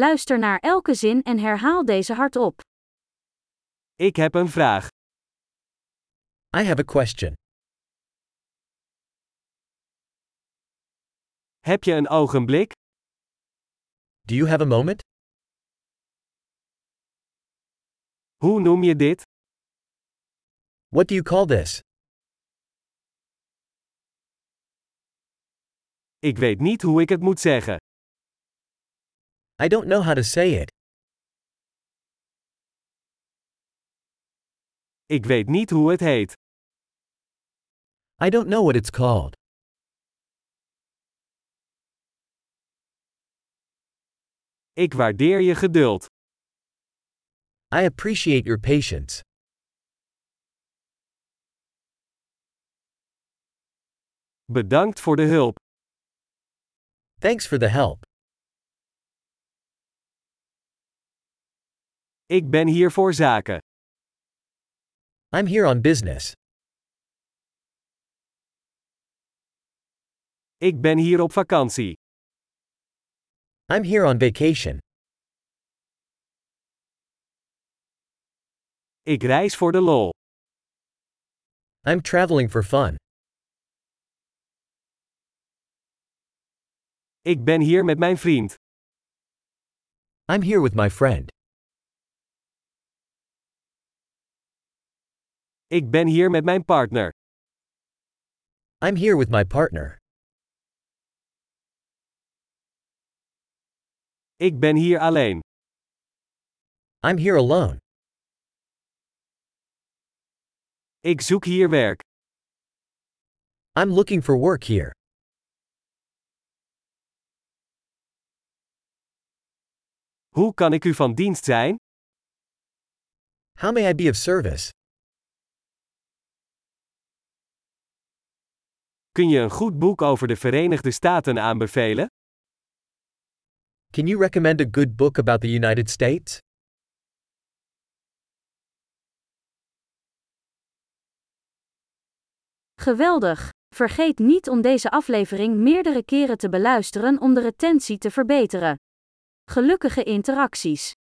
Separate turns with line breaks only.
Luister naar elke zin en herhaal deze hardop.
Ik heb een vraag.
I have a question.
Heb je een ogenblik?
Do you have a moment?
Hoe noem je dit?
What do you call this?
Ik weet niet hoe ik het moet zeggen.
I don't know how to say it.
Ik weet niet hoe het heet.
I don't know what it's called.
Ik waardeer je geduld.
I appreciate your patience.
Bedankt voor de hulp.
Thanks for the help.
Ik ben hier voor zaken.
I'm here on business.
Ik ben hier op vakantie.
I'm here on vacation.
Ik reis voor de lol.
I'm traveling for fun.
Ik ben hier met mijn vriend.
I'm here with my friend.
Ik ben hier met mijn partner.
I'm here with my partner.
Ik ben hier alleen.
I'm here alone.
Ik zoek hier werk.
I'm looking for work here.
Hoe kan ik u van dienst zijn?
How may I be of service?
Kun je een goed boek over de Verenigde Staten aanbevelen?
Can you recommend a good book about the United States?
Geweldig! Vergeet niet om deze aflevering meerdere keren te beluisteren om de retentie te verbeteren. Gelukkige interacties!